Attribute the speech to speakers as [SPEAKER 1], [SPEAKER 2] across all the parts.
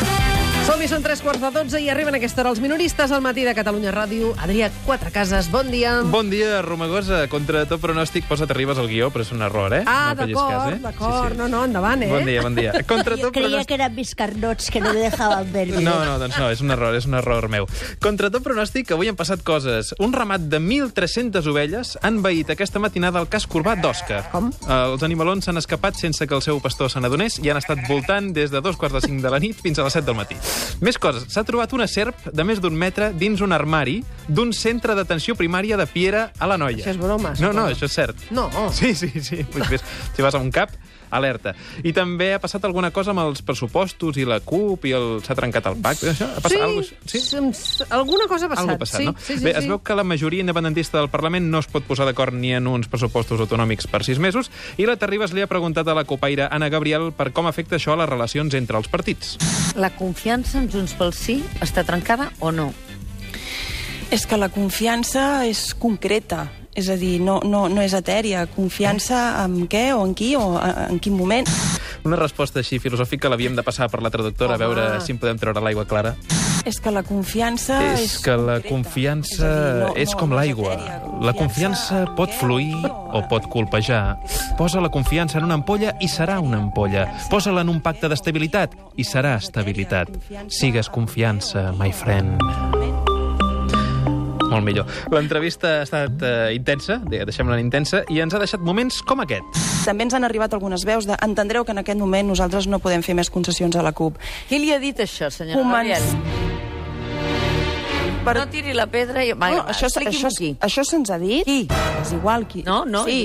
[SPEAKER 1] minuts i són tres quarts de dotze i arriben a aquesta hora els minoristes al matí de Catalunya Ràdio. Adrià Quatre Cases, bon dia.
[SPEAKER 2] Bon dia, Romagosa. Contra tot pronòstic, posa't arribes al guió, però és un error, eh?
[SPEAKER 1] Ah,
[SPEAKER 2] facis
[SPEAKER 1] d'acord,
[SPEAKER 2] cas,
[SPEAKER 1] d'acord. No, no, endavant, eh?
[SPEAKER 2] Bon dia, bon dia. Contra
[SPEAKER 3] Yo
[SPEAKER 2] tot
[SPEAKER 3] creía
[SPEAKER 2] pronòstic...
[SPEAKER 3] que eran mis carnots que no me dejaban ver bien.
[SPEAKER 2] No, no, doncs no, és un error, és un error meu. Contra tot pronòstic, avui han passat coses. Un ramat de 1.300 ovelles han veït aquesta matinada el cas corbat d'Òscar.
[SPEAKER 1] Com?
[SPEAKER 2] Eh, els animalons s'han escapat sense que el seu pastor se n'adonés i han estat voltant des de dos quarts de cinc de la nit fins a les set del matí. Més coses. S'ha trobat una serp de més d'un metre dins un armari d'un centre d'atenció primària de Piera a la Noia.
[SPEAKER 1] Això és broma,
[SPEAKER 2] No,
[SPEAKER 1] suposo.
[SPEAKER 2] no, això és cert.
[SPEAKER 1] No.
[SPEAKER 2] Sí, sí, sí. Pues ves, si vas a un cap, alerta. I també ha passat alguna cosa amb els pressupostos i la CUP i el... s'ha trencat el pacte. Això? Ha passat alguna cosa?
[SPEAKER 1] sí, em s- alguna cosa ha passat.
[SPEAKER 2] Algo ha passat,
[SPEAKER 1] sí,
[SPEAKER 2] no?
[SPEAKER 1] Sí, sí,
[SPEAKER 2] Bé,
[SPEAKER 1] sí.
[SPEAKER 2] es veu que la majoria independentista del Parlament no es pot posar d'acord ni en uns pressupostos autonòmics per sis mesos i la Terribas li ha preguntat a la copaire Anna Gabriel per com afecta això a les relacions entre els partits.
[SPEAKER 4] La confiança en Junts pel Sí està trencada o no?
[SPEAKER 5] És que la confiança és concreta, és a dir, no, no, no és etèria. Confiança en què o en qui o en quin moment.
[SPEAKER 2] Una resposta així filosòfica l'havíem de passar per la traductora
[SPEAKER 1] Home.
[SPEAKER 2] a veure si en podem treure l'aigua clara.
[SPEAKER 5] És que la confiança és,
[SPEAKER 2] és que la
[SPEAKER 5] concreta,
[SPEAKER 2] confiança
[SPEAKER 5] a dir, no-
[SPEAKER 2] és
[SPEAKER 5] no-
[SPEAKER 2] com
[SPEAKER 5] no
[SPEAKER 2] l'aigua.
[SPEAKER 5] etèria,
[SPEAKER 2] La confiança
[SPEAKER 5] en
[SPEAKER 2] pot
[SPEAKER 5] què,
[SPEAKER 2] fluir
[SPEAKER 5] en qui
[SPEAKER 2] o
[SPEAKER 5] en
[SPEAKER 2] pot
[SPEAKER 5] qui.
[SPEAKER 2] colpejar. Posa la confiança en una ampolla i serà una ampolla. Posa-la en un pacte d'estabilitat i serà estabilitat. Sigues confiança, my friend. Molt millor. L'entrevista ha estat eh, intensa, de- deixem-la en intensa, i ens ha deixat moments com aquest.
[SPEAKER 5] També ens han arribat algunes veus de entendreu que en aquest moment nosaltres no podem fer més concessions a la CUP.
[SPEAKER 4] Qui li ha dit això, senyora
[SPEAKER 5] Començ-
[SPEAKER 4] Gabriel?
[SPEAKER 5] Per-
[SPEAKER 4] No tiri la pedra i... Va,
[SPEAKER 5] No,
[SPEAKER 4] va,
[SPEAKER 5] Oh, això,
[SPEAKER 4] expliqui'm
[SPEAKER 5] això,
[SPEAKER 4] qui.
[SPEAKER 5] això se'ns ha dit.
[SPEAKER 4] Qui?
[SPEAKER 5] És igual qui.
[SPEAKER 4] No, no.
[SPEAKER 5] Sí.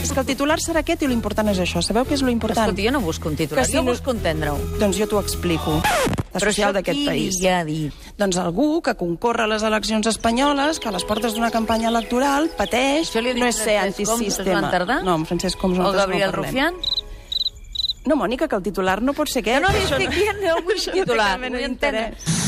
[SPEAKER 5] És que el titular serà aquest i l'important és això. Sabeu què és l'important?
[SPEAKER 4] Escolta, jo no busco un titular,
[SPEAKER 5] Que si
[SPEAKER 4] jo
[SPEAKER 5] no-
[SPEAKER 4] busco entendre-ho.
[SPEAKER 5] Doncs jo t'ho explico. La
[SPEAKER 4] Però això
[SPEAKER 5] social d'aquest
[SPEAKER 4] qui
[SPEAKER 5] país.
[SPEAKER 4] li ha dit?
[SPEAKER 5] Doncs algú que concorre a les eleccions espanyoles, que a les portes d'una campanya electoral pateix,
[SPEAKER 4] Això li ha dit
[SPEAKER 5] no és ser
[SPEAKER 4] Francesc Homs,
[SPEAKER 5] antisistema.
[SPEAKER 4] Joan Tardà?
[SPEAKER 5] No, amb Francesc Homs
[SPEAKER 4] O
[SPEAKER 5] nosaltres
[SPEAKER 4] Gabriel
[SPEAKER 5] no parlem.
[SPEAKER 4] Rufián?
[SPEAKER 5] No, Mònica, que el titular no pot ser aquest.
[SPEAKER 4] No, no, li
[SPEAKER 5] Això
[SPEAKER 4] estic dient, no vull
[SPEAKER 5] això
[SPEAKER 4] un titular,
[SPEAKER 5] no té cap mena
[SPEAKER 4] vull
[SPEAKER 5] d'interès.
[SPEAKER 4] entendre.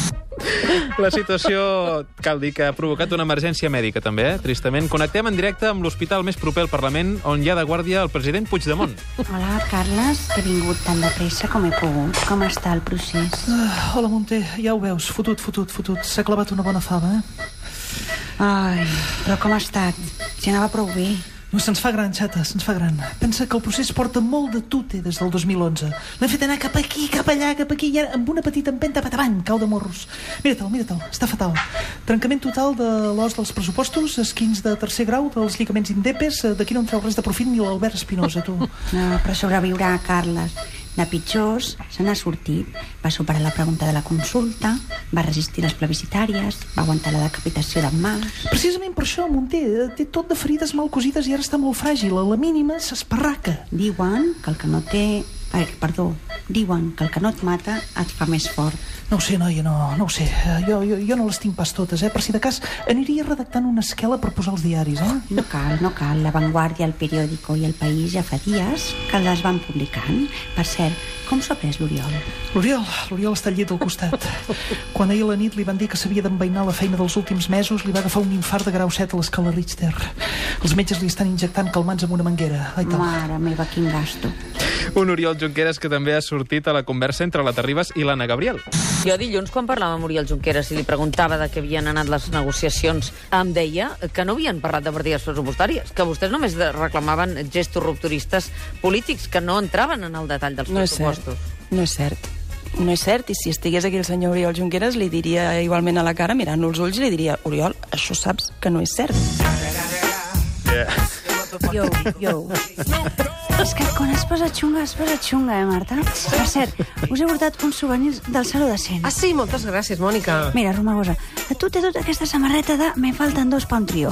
[SPEAKER 2] La situació, cal dir que ha provocat una emergència mèdica, també, eh? tristament. Connectem en directe amb l'hospital més proper al Parlament, on hi ha de guàrdia el president Puigdemont.
[SPEAKER 6] Hola, Carles. He vingut tan de pressa com he pogut. Com està el procés?
[SPEAKER 7] Ah, Hola, Monté, ja ho veus, fotut, fotut, fotut. S'ha clavat una bona fama, eh?
[SPEAKER 6] Ai, però com ha estat? Si anava prou bé.
[SPEAKER 7] No, se'ns fa gran, xata, se'ns fa gran. Pensa que el procés porta molt de tute des del 2011. L'hem fet anar cap aquí, cap allà, cap aquí, i ara amb una petita empenta pat avant, cau de morros. Mira-te'l, mira-te'l, està fatal. Trencament total de l'os dels pressupostos, esquins de tercer grau, dels lligaments indepes, eh, d'aquí no en treu res de profit ni l'Albert Espinosa, tu.
[SPEAKER 6] No, però sobreviurà, Carles. De pitjors, se n'ha sortit. Va superar la pregunta de la consulta, va resistir les plebiscitàries, va aguantar la decapitació d'en Mas.
[SPEAKER 7] Precisament per això, Monté, eh, té tot de ferides mal cosides i ara està molt fràgil. A la mínima s'esparraca.
[SPEAKER 6] Diuen que el que no té... Ai, perdó. Diuen que el que no et mata et fa més fort.
[SPEAKER 7] No ho sé, noia, no, no ho sé. Eh, Jo, jo, jo no les tinc pas totes, eh? Per si de cas, aniria redactant una esquela per posar els diaris, eh?
[SPEAKER 6] No cal, no cal. La Vanguardia, el periòdico i el País ja fa dies que les van publicant. Per cert, com s'ha pres l'Oriol?
[SPEAKER 7] L'Oriol, l'Oriol està al llit al costat. Quan ahir a la nit li van dir que s'havia d'enveinar la feina dels últims mesos, li va agafar un infart de grau 7 a l'escala Richter. Els metges li estan injectant calmants amb una manguera. Ai, tal.
[SPEAKER 6] Mare meva, quin gasto.
[SPEAKER 2] Un Oriol Junqueras que també ha sortit a la conversa entre la Terribas i l'Anna Gabriel.
[SPEAKER 4] Jo dilluns, quan parlava amb Oriol Junqueras i li preguntava de què havien anat les negociacions, em deia que no havien parlat de partides pressupostàries, que vostès només de- reclamaven gestos rupturistes polítics que no entraven en el detall dels
[SPEAKER 5] No és cert.
[SPEAKER 4] pressupostos.
[SPEAKER 5] No és cert. No és cert, i si estigués aquí el senyor Oriol Junqueras li diria igualment a la cara, mirant-lo als ulls, li diria Oriol, això saps que no és cert.
[SPEAKER 6] Yo, yo. És que quan es posa xunga, es posa xunga, eh, Marta? Per cert, us he portat uns souvenirs del Saló de Cent.
[SPEAKER 1] Ah, sí, moltes gràcies, Mònica.
[SPEAKER 6] Mira, Romagosa, a tu té tota aquesta samarreta de Me falten dos pa un trio.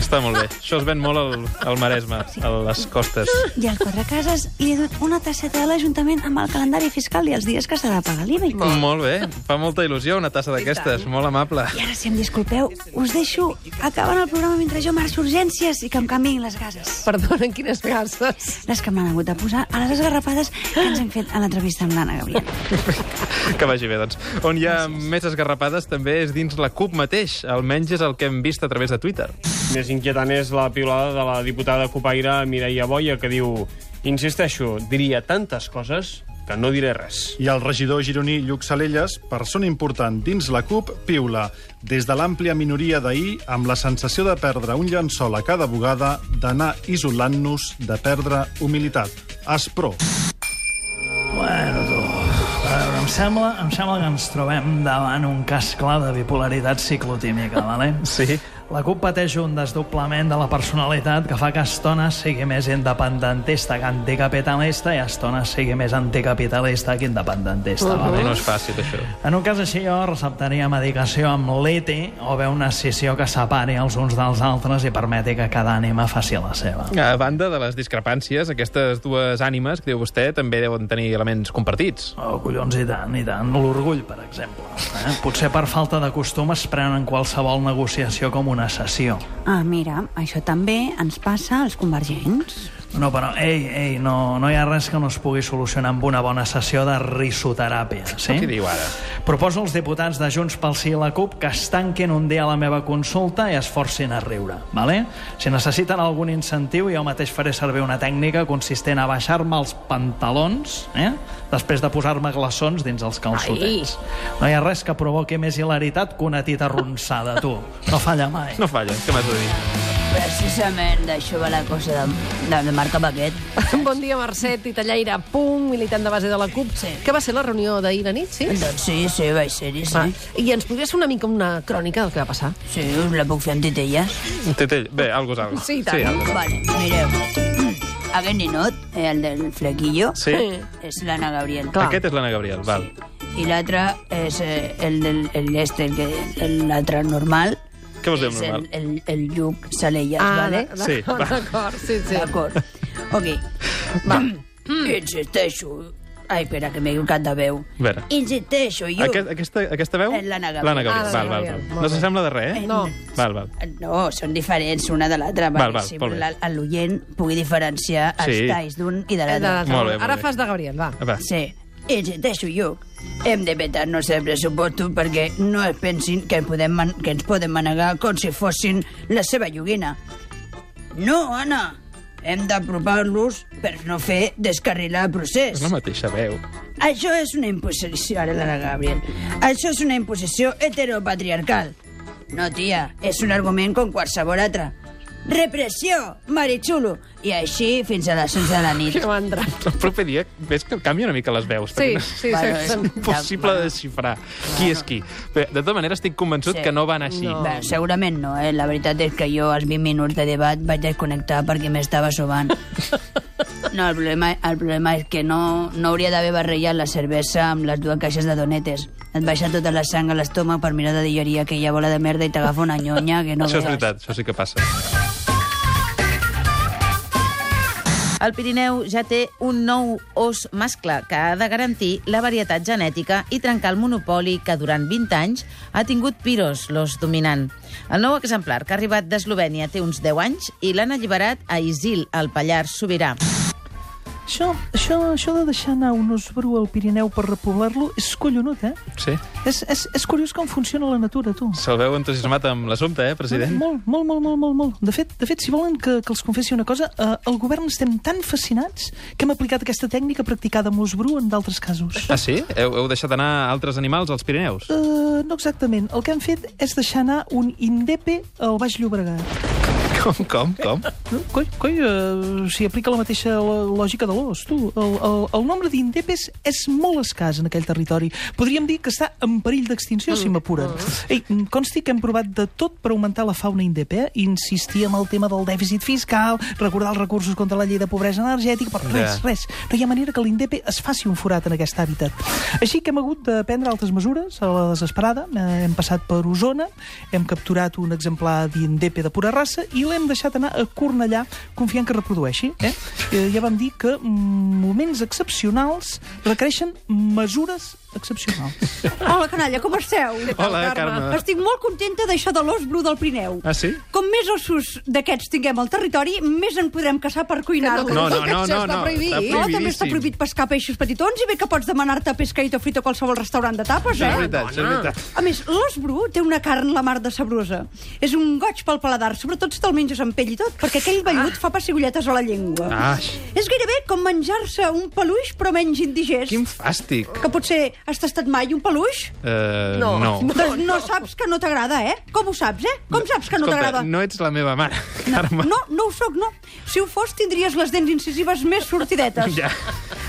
[SPEAKER 2] Està molt bé. Això es ven molt al, al Maresme, a les costes.
[SPEAKER 6] I al Quatre Cases li he dut una tasseta de l'Ajuntament amb el calendari fiscal i els dies que s'ha de pagar l'IVA i tot.
[SPEAKER 2] Molt bé. Fa molta il·lusió una tassa d'aquestes. Molt amable.
[SPEAKER 6] I ara, si em disculpeu, us deixo acabant el programa mentre jo marxo a urgències i que em canviïn les gases.
[SPEAKER 1] Perdonen, quines gràcies.
[SPEAKER 6] Les que m'han hagut de posar a les esgarrapades que ens hem fet a l'entrevista amb l'Anna Gabriel.
[SPEAKER 2] Que vagi bé, doncs. On hi ha més esgarrapades també és dins la CUP mateix. Almenys és el que hem vist a través de Twitter.
[SPEAKER 8] Més inquietant és la piulada de la diputada copaire Mireia Boia, que diu... Insisteixo, diria tantes coses que no diré res.
[SPEAKER 9] I el regidor gironí Lluc Salelles, persona important dins la CUP, piula des de l'àmplia minoria d'ahir amb la sensació de perdre un llençol a cada bugada, d'anar isolant-nos, de perdre humilitat. Espro.
[SPEAKER 7] Bueno, tu... A veure, em sembla, em sembla que ens trobem davant un cas clar de bipolaritat ciclotímica, vale?
[SPEAKER 2] Sí.
[SPEAKER 7] La CUP pateix un desdoblament de la personalitat que fa que a estones sigui més independentista que anticapitalista i a estones sigui més anticapitalista que independentista, vale?
[SPEAKER 2] No és fàcil, això.
[SPEAKER 7] En un cas així, jo receptaria medicació amb l'ETI o bé una escissió que separi els uns dels altres i permeti que cada ànima faci la seva.
[SPEAKER 2] A banda de les discrepàncies, aquestes dues ànimes que diu vostè també deuen tenir elements compartits.
[SPEAKER 7] Oh, collons, i tant, i tant. L'orgull, per exemple. Eh? Potser per falta de costum es prenen qualsevol negociació com una sessió.
[SPEAKER 6] Ah, mira, això també ens passa als convergents.
[SPEAKER 7] No, però, ei, ei, no, no hi ha res que no es pugui solucionar amb una bona sessió de risoteràpia, sí?
[SPEAKER 10] Eh?
[SPEAKER 2] Què diu ara?
[SPEAKER 7] Proposo als diputats de Junts pel Sí i la CUP que es tanquin un dia a la meva consulta i es forcin a riure, vale? Si necessiten algun incentiu, jo mateix faré servir una tècnica consistent a baixar-me els pantalons, eh? després de posar-me glaçons dins els calçotets. No hi ha res que provoqui més hilaritat que una tita ronçada, tu. No falla mai.
[SPEAKER 2] No falla, què m'has de dir?
[SPEAKER 10] Precisament d'això va la cosa de, de, de Marc Paquet.
[SPEAKER 1] Bon dia, Mercè Titallaire, pum, militant de base de la CUP. Sí. Que va ser la reunió d'ahir a nit, sí?
[SPEAKER 10] Doncs sí, sí, vaig ser-hi, sí.
[SPEAKER 1] Va. I ens podries fer una mica una crònica del que va passar?
[SPEAKER 10] Sí, us la puc fer amb titelles.
[SPEAKER 2] Titell, bé, algo és algo.
[SPEAKER 1] Sí, i tant.
[SPEAKER 2] algo.
[SPEAKER 10] Vale, mireu. Aquest ninot, eh, el del flequillo,
[SPEAKER 2] Sí.
[SPEAKER 10] és l'Anna Gabriel.
[SPEAKER 1] Clar.
[SPEAKER 2] Aquest és l'Anna Gabriel, val.
[SPEAKER 10] I l'altre és eh, el del el este, el que- el- l'altre normal.
[SPEAKER 2] Què vols dir amb
[SPEAKER 10] És
[SPEAKER 2] normal?
[SPEAKER 10] El, el, el Lluc Salelles,
[SPEAKER 1] Ah,
[SPEAKER 10] vale?
[SPEAKER 1] d'acord,
[SPEAKER 2] Sí, va.
[SPEAKER 1] d'acord, sí, sí.
[SPEAKER 10] D'acord. Ok. Va. Mm. Insisteixo. Ai, espera, que m'he equivocat de veu.
[SPEAKER 2] A veure.
[SPEAKER 10] Insisteixo, jo...
[SPEAKER 2] Aquest, aquesta, aquesta veu?
[SPEAKER 10] És Eh, l'Anna Gabriel.
[SPEAKER 2] L'Anna
[SPEAKER 1] Ah,
[SPEAKER 2] Gabriel, val,
[SPEAKER 1] l'Anna
[SPEAKER 2] val,
[SPEAKER 1] Gabriel,
[SPEAKER 2] val.
[SPEAKER 1] molt
[SPEAKER 2] No s'assembla de res, eh?
[SPEAKER 10] No.
[SPEAKER 2] Val, val.
[SPEAKER 10] No, són diferents una de l'altra,
[SPEAKER 2] Val,
[SPEAKER 10] perquè
[SPEAKER 2] val,
[SPEAKER 10] si
[SPEAKER 2] molt bé.
[SPEAKER 10] la- a l'oient pugui diferenciar els
[SPEAKER 2] Sí.
[SPEAKER 10] talls d'un i de
[SPEAKER 1] Eh, de
[SPEAKER 10] l'altre.
[SPEAKER 1] l'altre.
[SPEAKER 2] Molt bé, molt
[SPEAKER 1] Ara
[SPEAKER 2] bé.
[SPEAKER 1] fas de Gabriel, va.
[SPEAKER 2] Va.
[SPEAKER 10] Sí, insisteixo jo. Hem de vetar-nos el pressuposto perquè no es pensin que, podem man- que ens podem manegar com si fossin la seva joguina. No, Anna! Hem d'apropar-los per no fer descarrilar el procés.
[SPEAKER 2] És la mateixa veu.
[SPEAKER 10] Això és una imposició, ara l'Anna Gabriel. Això és una imposició heteropatriarcal. No, tia, és un argument com qualsevol altre. Repressió, maritxulo! I així fins a les 11 de la nit.
[SPEAKER 1] Que mandra.
[SPEAKER 2] El proper dia ves que canvia una mica les veus.
[SPEAKER 1] Sí,
[SPEAKER 2] perquè
[SPEAKER 1] sí,
[SPEAKER 10] Bueno,
[SPEAKER 1] sí.
[SPEAKER 10] és-
[SPEAKER 1] sí.
[SPEAKER 2] no- Impossible de xifrar qui és qui. Bé, de tota manera, estic convençut
[SPEAKER 10] Sí.
[SPEAKER 2] que no van així.
[SPEAKER 1] No.
[SPEAKER 10] Bé, segurament no, eh? La veritat és que jo als 20 minuts de debat vaig desconnectar perquè m'estava sobant. No, el problema, el problema és que no, no hauria d'haver barrejat la cervesa amb les dues caixes de donetes. Et baixa tota la sang a l'estómac per mirar de digerir aquella bola de merda i t'agafa una nyonya que no
[SPEAKER 2] Això és
[SPEAKER 10] veus.
[SPEAKER 2] veritat, això sí que passa.
[SPEAKER 11] El Pirineu ja té un nou os mascle que ha de garantir la varietat genètica i trencar el monopoli que durant 20 anys ha tingut Piros, l'os dominant. El nou exemplar, que ha arribat d'Eslovènia, té uns 10 anys i l'han alliberat a Isil, al Pallars Sobirà.
[SPEAKER 7] Això, això, això de deixar anar un os bru al Pirineu per repoblar-lo és collonut, eh?
[SPEAKER 2] Sí?
[SPEAKER 7] És, és, és curiós com funciona la natura, tu.
[SPEAKER 2] Se'l veu entusiasmat amb l'assumpte, eh, president?
[SPEAKER 7] Molt, molt, molt, molt, molt, molt. De fet, de fet si volen que, que els confessi una cosa, eh, el govern estem tan fascinats que hem aplicat aquesta tècnica practicada amb l'os bru en d'altres casos.
[SPEAKER 2] Ah, sí? Heu, heu deixat anar altres animals als Pirineus?
[SPEAKER 7] Uh, no exactament. El que han fet és deixar anar un indepe al Baix Llobregat.
[SPEAKER 2] Com, com, com?
[SPEAKER 7] No? Coi, coi uh, s'hi aplica la mateixa lo- lògica de l'os, tu. El, el, el nombre d'indepes és molt escàs en aquell territori. Podríem dir que està en perill d'extinció, si m'apuren. Ei, mm, consti que hem provat de tot per augmentar la fauna indepe, eh? Insistir en el tema del dèficit fiscal, recordar els recursos contra la llei de pobresa energètica, però res,
[SPEAKER 2] Ja.
[SPEAKER 7] res res. No hi ha manera que l'Indepe es faci un forat en aquest hàbitat. Així que hem hagut de prendre altres mesures a la desesperada. Eh, Hem passat per Osona, hem capturat un exemplar d'Indepe de pura raça i l'hem deixat anar a Cornellà confiant que reprodueixi. Eh? Eh, Ja vam dir que mm, moments excepcionals requereixen mesures excepcional.
[SPEAKER 12] Hola, canalla, com esteu?
[SPEAKER 2] Hola, Carme.
[SPEAKER 12] Estic molt contenta d'això de l'os bru del Pirineu.
[SPEAKER 2] Ah, sí?
[SPEAKER 12] Com més ossos d'aquests tinguem al territori, més en podrem caçar per cuinar-los.
[SPEAKER 2] Que no, que no, no, això no, està no, prohibit. està
[SPEAKER 12] No, també està
[SPEAKER 2] prohibidíssim.
[SPEAKER 12] prohibit pescar peixos petitons i bé que pots demanar-te pescaïto frito a qualsevol restaurant de tapes,
[SPEAKER 2] Això
[SPEAKER 12] eh?
[SPEAKER 2] és veritat, això és veritat.
[SPEAKER 12] A més, l'os bru té una carn la mar de sabrosa. És un goig pel paladar, sobretot si te'l menges amb pell i tot, perquè aquell vellut ah. fa pessigolletes a la llengua.
[SPEAKER 2] Ah.
[SPEAKER 12] És gairebé com menjar-se un peluix, però menys indigest. Quin
[SPEAKER 2] Fàstic.
[SPEAKER 12] que potser has tastat mai un peluix?
[SPEAKER 2] Eh, no. no.
[SPEAKER 12] Doncs no, saps que no t'agrada, eh? Com ho saps, eh? Com saps que no
[SPEAKER 2] Escolta,
[SPEAKER 12] t'agrada?
[SPEAKER 2] no ets la meva mare, Carme.
[SPEAKER 12] No, no ho sóc, no. Si ho fos, tindries les dents incisives més sortidetes.
[SPEAKER 2] Ja.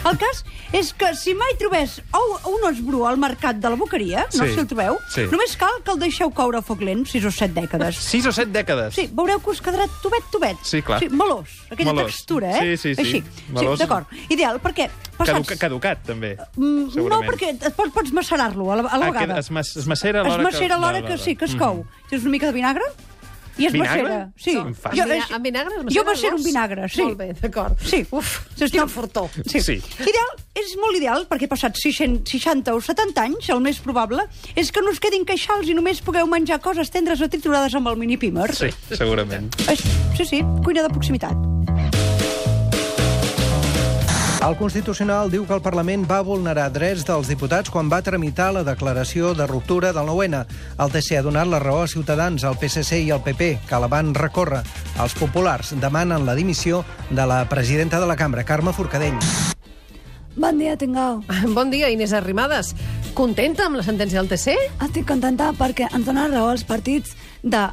[SPEAKER 12] El cas és que si mai trobés ou, un os bru al mercat de la boqueria, no
[SPEAKER 2] Sí.
[SPEAKER 12] sé si el trobeu,
[SPEAKER 2] Sí.
[SPEAKER 12] només cal que el deixeu coure a foc lent 6 o 7 dècades.
[SPEAKER 2] Sis o set dècades.
[SPEAKER 12] Sí, veureu que us quedarà tubet, tubet.
[SPEAKER 2] Sí, clar.
[SPEAKER 12] Sí, melós, aquella
[SPEAKER 2] Melós.
[SPEAKER 12] textura, eh?
[SPEAKER 2] Sí, sí, sí.
[SPEAKER 12] Així.
[SPEAKER 2] Melós.
[SPEAKER 12] Sí, d'acord. Ideal, perquè
[SPEAKER 2] Caduc,
[SPEAKER 12] passats...
[SPEAKER 2] caducat, també.
[SPEAKER 12] Mm, No,
[SPEAKER 2] segurament.
[SPEAKER 12] perquè et pots, pots macerar-lo a la, a la
[SPEAKER 2] Ah,
[SPEAKER 12] vegada.
[SPEAKER 2] queda- es mas- es macera a
[SPEAKER 12] Es
[SPEAKER 2] l'hora que-
[SPEAKER 12] macera a l'hora
[SPEAKER 2] Val,
[SPEAKER 12] que,
[SPEAKER 2] val,
[SPEAKER 12] sí, que es
[SPEAKER 2] val.
[SPEAKER 12] cou. Tens una mica de vinagre i es
[SPEAKER 2] Vinagre?
[SPEAKER 12] macera. Sí.
[SPEAKER 2] Som fàcil.
[SPEAKER 1] Amb vina- amb vinagre es macera
[SPEAKER 12] Jo macero
[SPEAKER 1] l'os?
[SPEAKER 12] un vinagre, sí.
[SPEAKER 1] Molt bé, d'acord.
[SPEAKER 12] Sí. Uf, quin
[SPEAKER 1] fortó.
[SPEAKER 12] Sí. sí. Ideal, és molt ideal, perquè passats 600 60 o 70 anys, el més probable és que no us quedin queixals i només pugueu menjar coses tendres o triturades amb el mini pimer.
[SPEAKER 2] Sí, segurament.
[SPEAKER 12] Ah. Sí, sí, cuina de proximitat.
[SPEAKER 13] El Constitucional diu que el Parlament va vulnerar drets dels diputats quan va tramitar la declaració de ruptura del 9-N. El TC ha donat la raó a Ciutadans, al PSC i al PP, que la van recórrer. Els populars demanen la dimissió de la presidenta de la cambra, Carme Forcadell.
[SPEAKER 1] Bon dia, Tingau. Bon dia, Inés Arrimadas. Contenta amb la sentència del TC?
[SPEAKER 14] Estic contenta perquè ens dona raó als partits de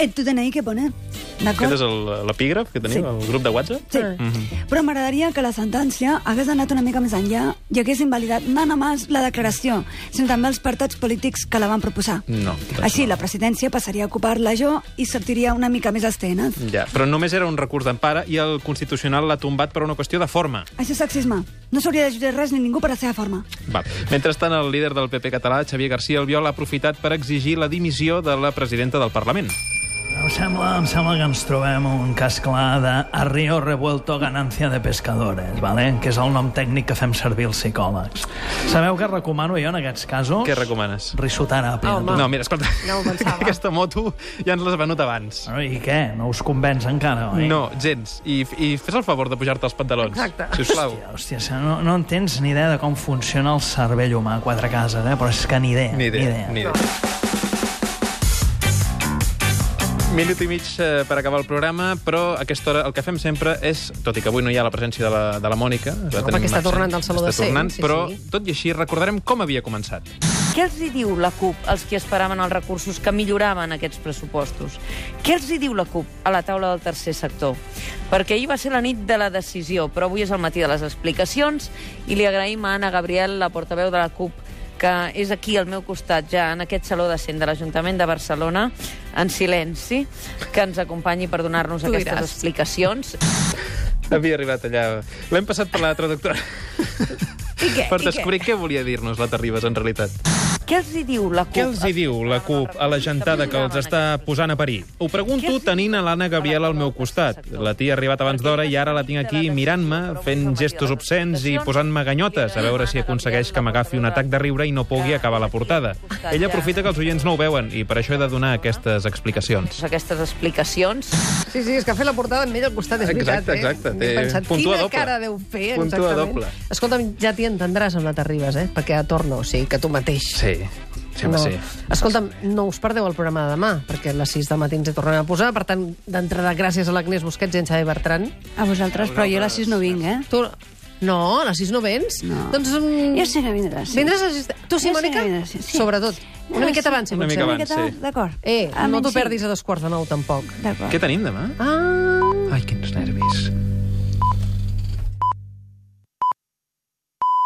[SPEAKER 14] et tu DNI que pone,
[SPEAKER 2] Aquest
[SPEAKER 14] d'acord?
[SPEAKER 2] és el- l'epígraf que teniu,
[SPEAKER 14] Sí.
[SPEAKER 2] el grup de WhatsApp?
[SPEAKER 14] Sí.
[SPEAKER 2] Mhm.
[SPEAKER 14] Però m'agradaria que la sentència hagués anat una mica més enllà i hagués invalidat no només la declaració, sinó també els partits polítics que la van proposar.
[SPEAKER 2] No.
[SPEAKER 14] Així, la presidència passaria a ocupar-la jo i sortiria una mica més estena.
[SPEAKER 2] Ja, però només era un recurs d'empara i el Constitucional l'ha tombat per una qüestió de forma.
[SPEAKER 14] Això és sexisme. No s'hauria de jutjar res ni ningú per la seva forma.
[SPEAKER 2] Va. Mentrestant, el líder del PP català, Xavier García Albiol, ha aprofitat per exigir la dimissió de la presidenta del Parlament.
[SPEAKER 15] Em sembla, em sembla que ens trobem un cas clar de a río revuelto ganancia de pescadores, ¿vale? que és el nom tècnic que fem servir els psicòlegs. Sabeu què recomano jo en aquests casos?
[SPEAKER 2] Què recomanes?
[SPEAKER 15] Risoteràpia. tu.
[SPEAKER 2] No, mira, escolta, aquesta moto ja ens l'has venut abans.
[SPEAKER 15] Bueno, I què? No us convenç encara, oi?
[SPEAKER 2] No, gens. I, i fes el favor de pujar-te els pantalons. Exacte. Sisplau.
[SPEAKER 15] Hòstia, hòstia, se- no, no en tens ni idea de com funciona el cervell humà a quatre cases, eh? però és que ni idea.
[SPEAKER 2] Ni idea, ni idea. Minut i mig eh, per acabar el programa, però a aquesta hora el que fem sempre és, tot i que avui no hi ha la presència de la, de la Mònica... la tenim
[SPEAKER 1] perquè està
[SPEAKER 2] absent,
[SPEAKER 1] tornant del Saló de
[SPEAKER 2] està
[SPEAKER 1] Cent,
[SPEAKER 2] tornant,
[SPEAKER 1] sí,
[SPEAKER 2] però,
[SPEAKER 1] sí.
[SPEAKER 2] tot i així, recordarem com havia començat.
[SPEAKER 4] Què els hi diu la CUP als qui esperaven els recursos que milloraven aquests pressupostos? Què els hi diu la CUP a la taula del tercer sector? Perquè ahir va ser la nit de la decisió, però avui és el matí de les explicacions i li agraïm a Anna Gabriel, la portaveu de la CUP, que és aquí al meu costat ja, en aquest saló de cent de l'Ajuntament de Barcelona, en silenci, que ens acompanyi per donar-nos
[SPEAKER 1] Tu
[SPEAKER 4] aquestes
[SPEAKER 1] diràs.
[SPEAKER 4] explicacions.
[SPEAKER 2] Havia arribat allà... L'hem passat per la traductora. I
[SPEAKER 4] què?
[SPEAKER 2] Per
[SPEAKER 4] I
[SPEAKER 2] descobrir què volia dir-nos la Terribas, en realitat.
[SPEAKER 4] Què els hi diu la CUP?
[SPEAKER 16] Què els hi diu la CUP a la gentada que els està posant a parir? Ho pregunto tenint a l'Anna Gabriel al meu costat. La tia ha arribat abans d'hora i ara la tinc aquí mirant-me, fent gestos obscens i posant-me ganyotes a veure si aconsegueix que m'agafi un atac de riure i no pugui acabar la portada. Ella aprofita que els oients no ho veuen i per això he de donar aquestes explicacions.
[SPEAKER 4] Aquestes explications...
[SPEAKER 1] Sí, sí, és que fer la portada amb ell al costat és veritat,
[SPEAKER 16] Exacte, exacte,
[SPEAKER 1] eh?
[SPEAKER 16] té-
[SPEAKER 1] He pensat,
[SPEAKER 16] puntua
[SPEAKER 1] quina
[SPEAKER 16] doble.
[SPEAKER 1] cara deu fer,
[SPEAKER 16] Puntua
[SPEAKER 1] exactament.
[SPEAKER 16] doble.
[SPEAKER 1] Escolta'm, ja t'hi entendràs amb la Terribas, eh? Perquè a torno, o sigui, que tu mateix.
[SPEAKER 2] Sí, sí, home,
[SPEAKER 1] no.
[SPEAKER 2] sí.
[SPEAKER 1] Escolta'm, no us perdeu el programa de demà, perquè a les 6 del matí ens hi tornem a posar. Per tant, d'entrada, gràcies a l'Agnès Busquets i en Xavi Bertran.
[SPEAKER 14] A vosaltres, però jo a les 6 no vinc, eh?
[SPEAKER 1] Tu... No, a les 6 no vens? No. Doncs... Mm...
[SPEAKER 14] Jo sé que vindràs. Sí.
[SPEAKER 1] Vindràs a les 6? Tu sí,
[SPEAKER 14] Jo sé
[SPEAKER 1] Mònica?
[SPEAKER 14] que vindràs, sí, sí.
[SPEAKER 1] Sobretot. Una
[SPEAKER 14] Ah,
[SPEAKER 1] miqueta
[SPEAKER 14] sí.
[SPEAKER 1] abans, si
[SPEAKER 2] Una
[SPEAKER 1] pot ser.
[SPEAKER 2] mica abans, sí.
[SPEAKER 14] D'acord.
[SPEAKER 1] Eh,
[SPEAKER 14] Ah,
[SPEAKER 1] no t'ho
[SPEAKER 14] sí.
[SPEAKER 1] perdis a dos quarts de nou, tampoc.
[SPEAKER 14] D'acord.
[SPEAKER 2] Què tenim demà?
[SPEAKER 1] Ah...
[SPEAKER 2] Ai, quins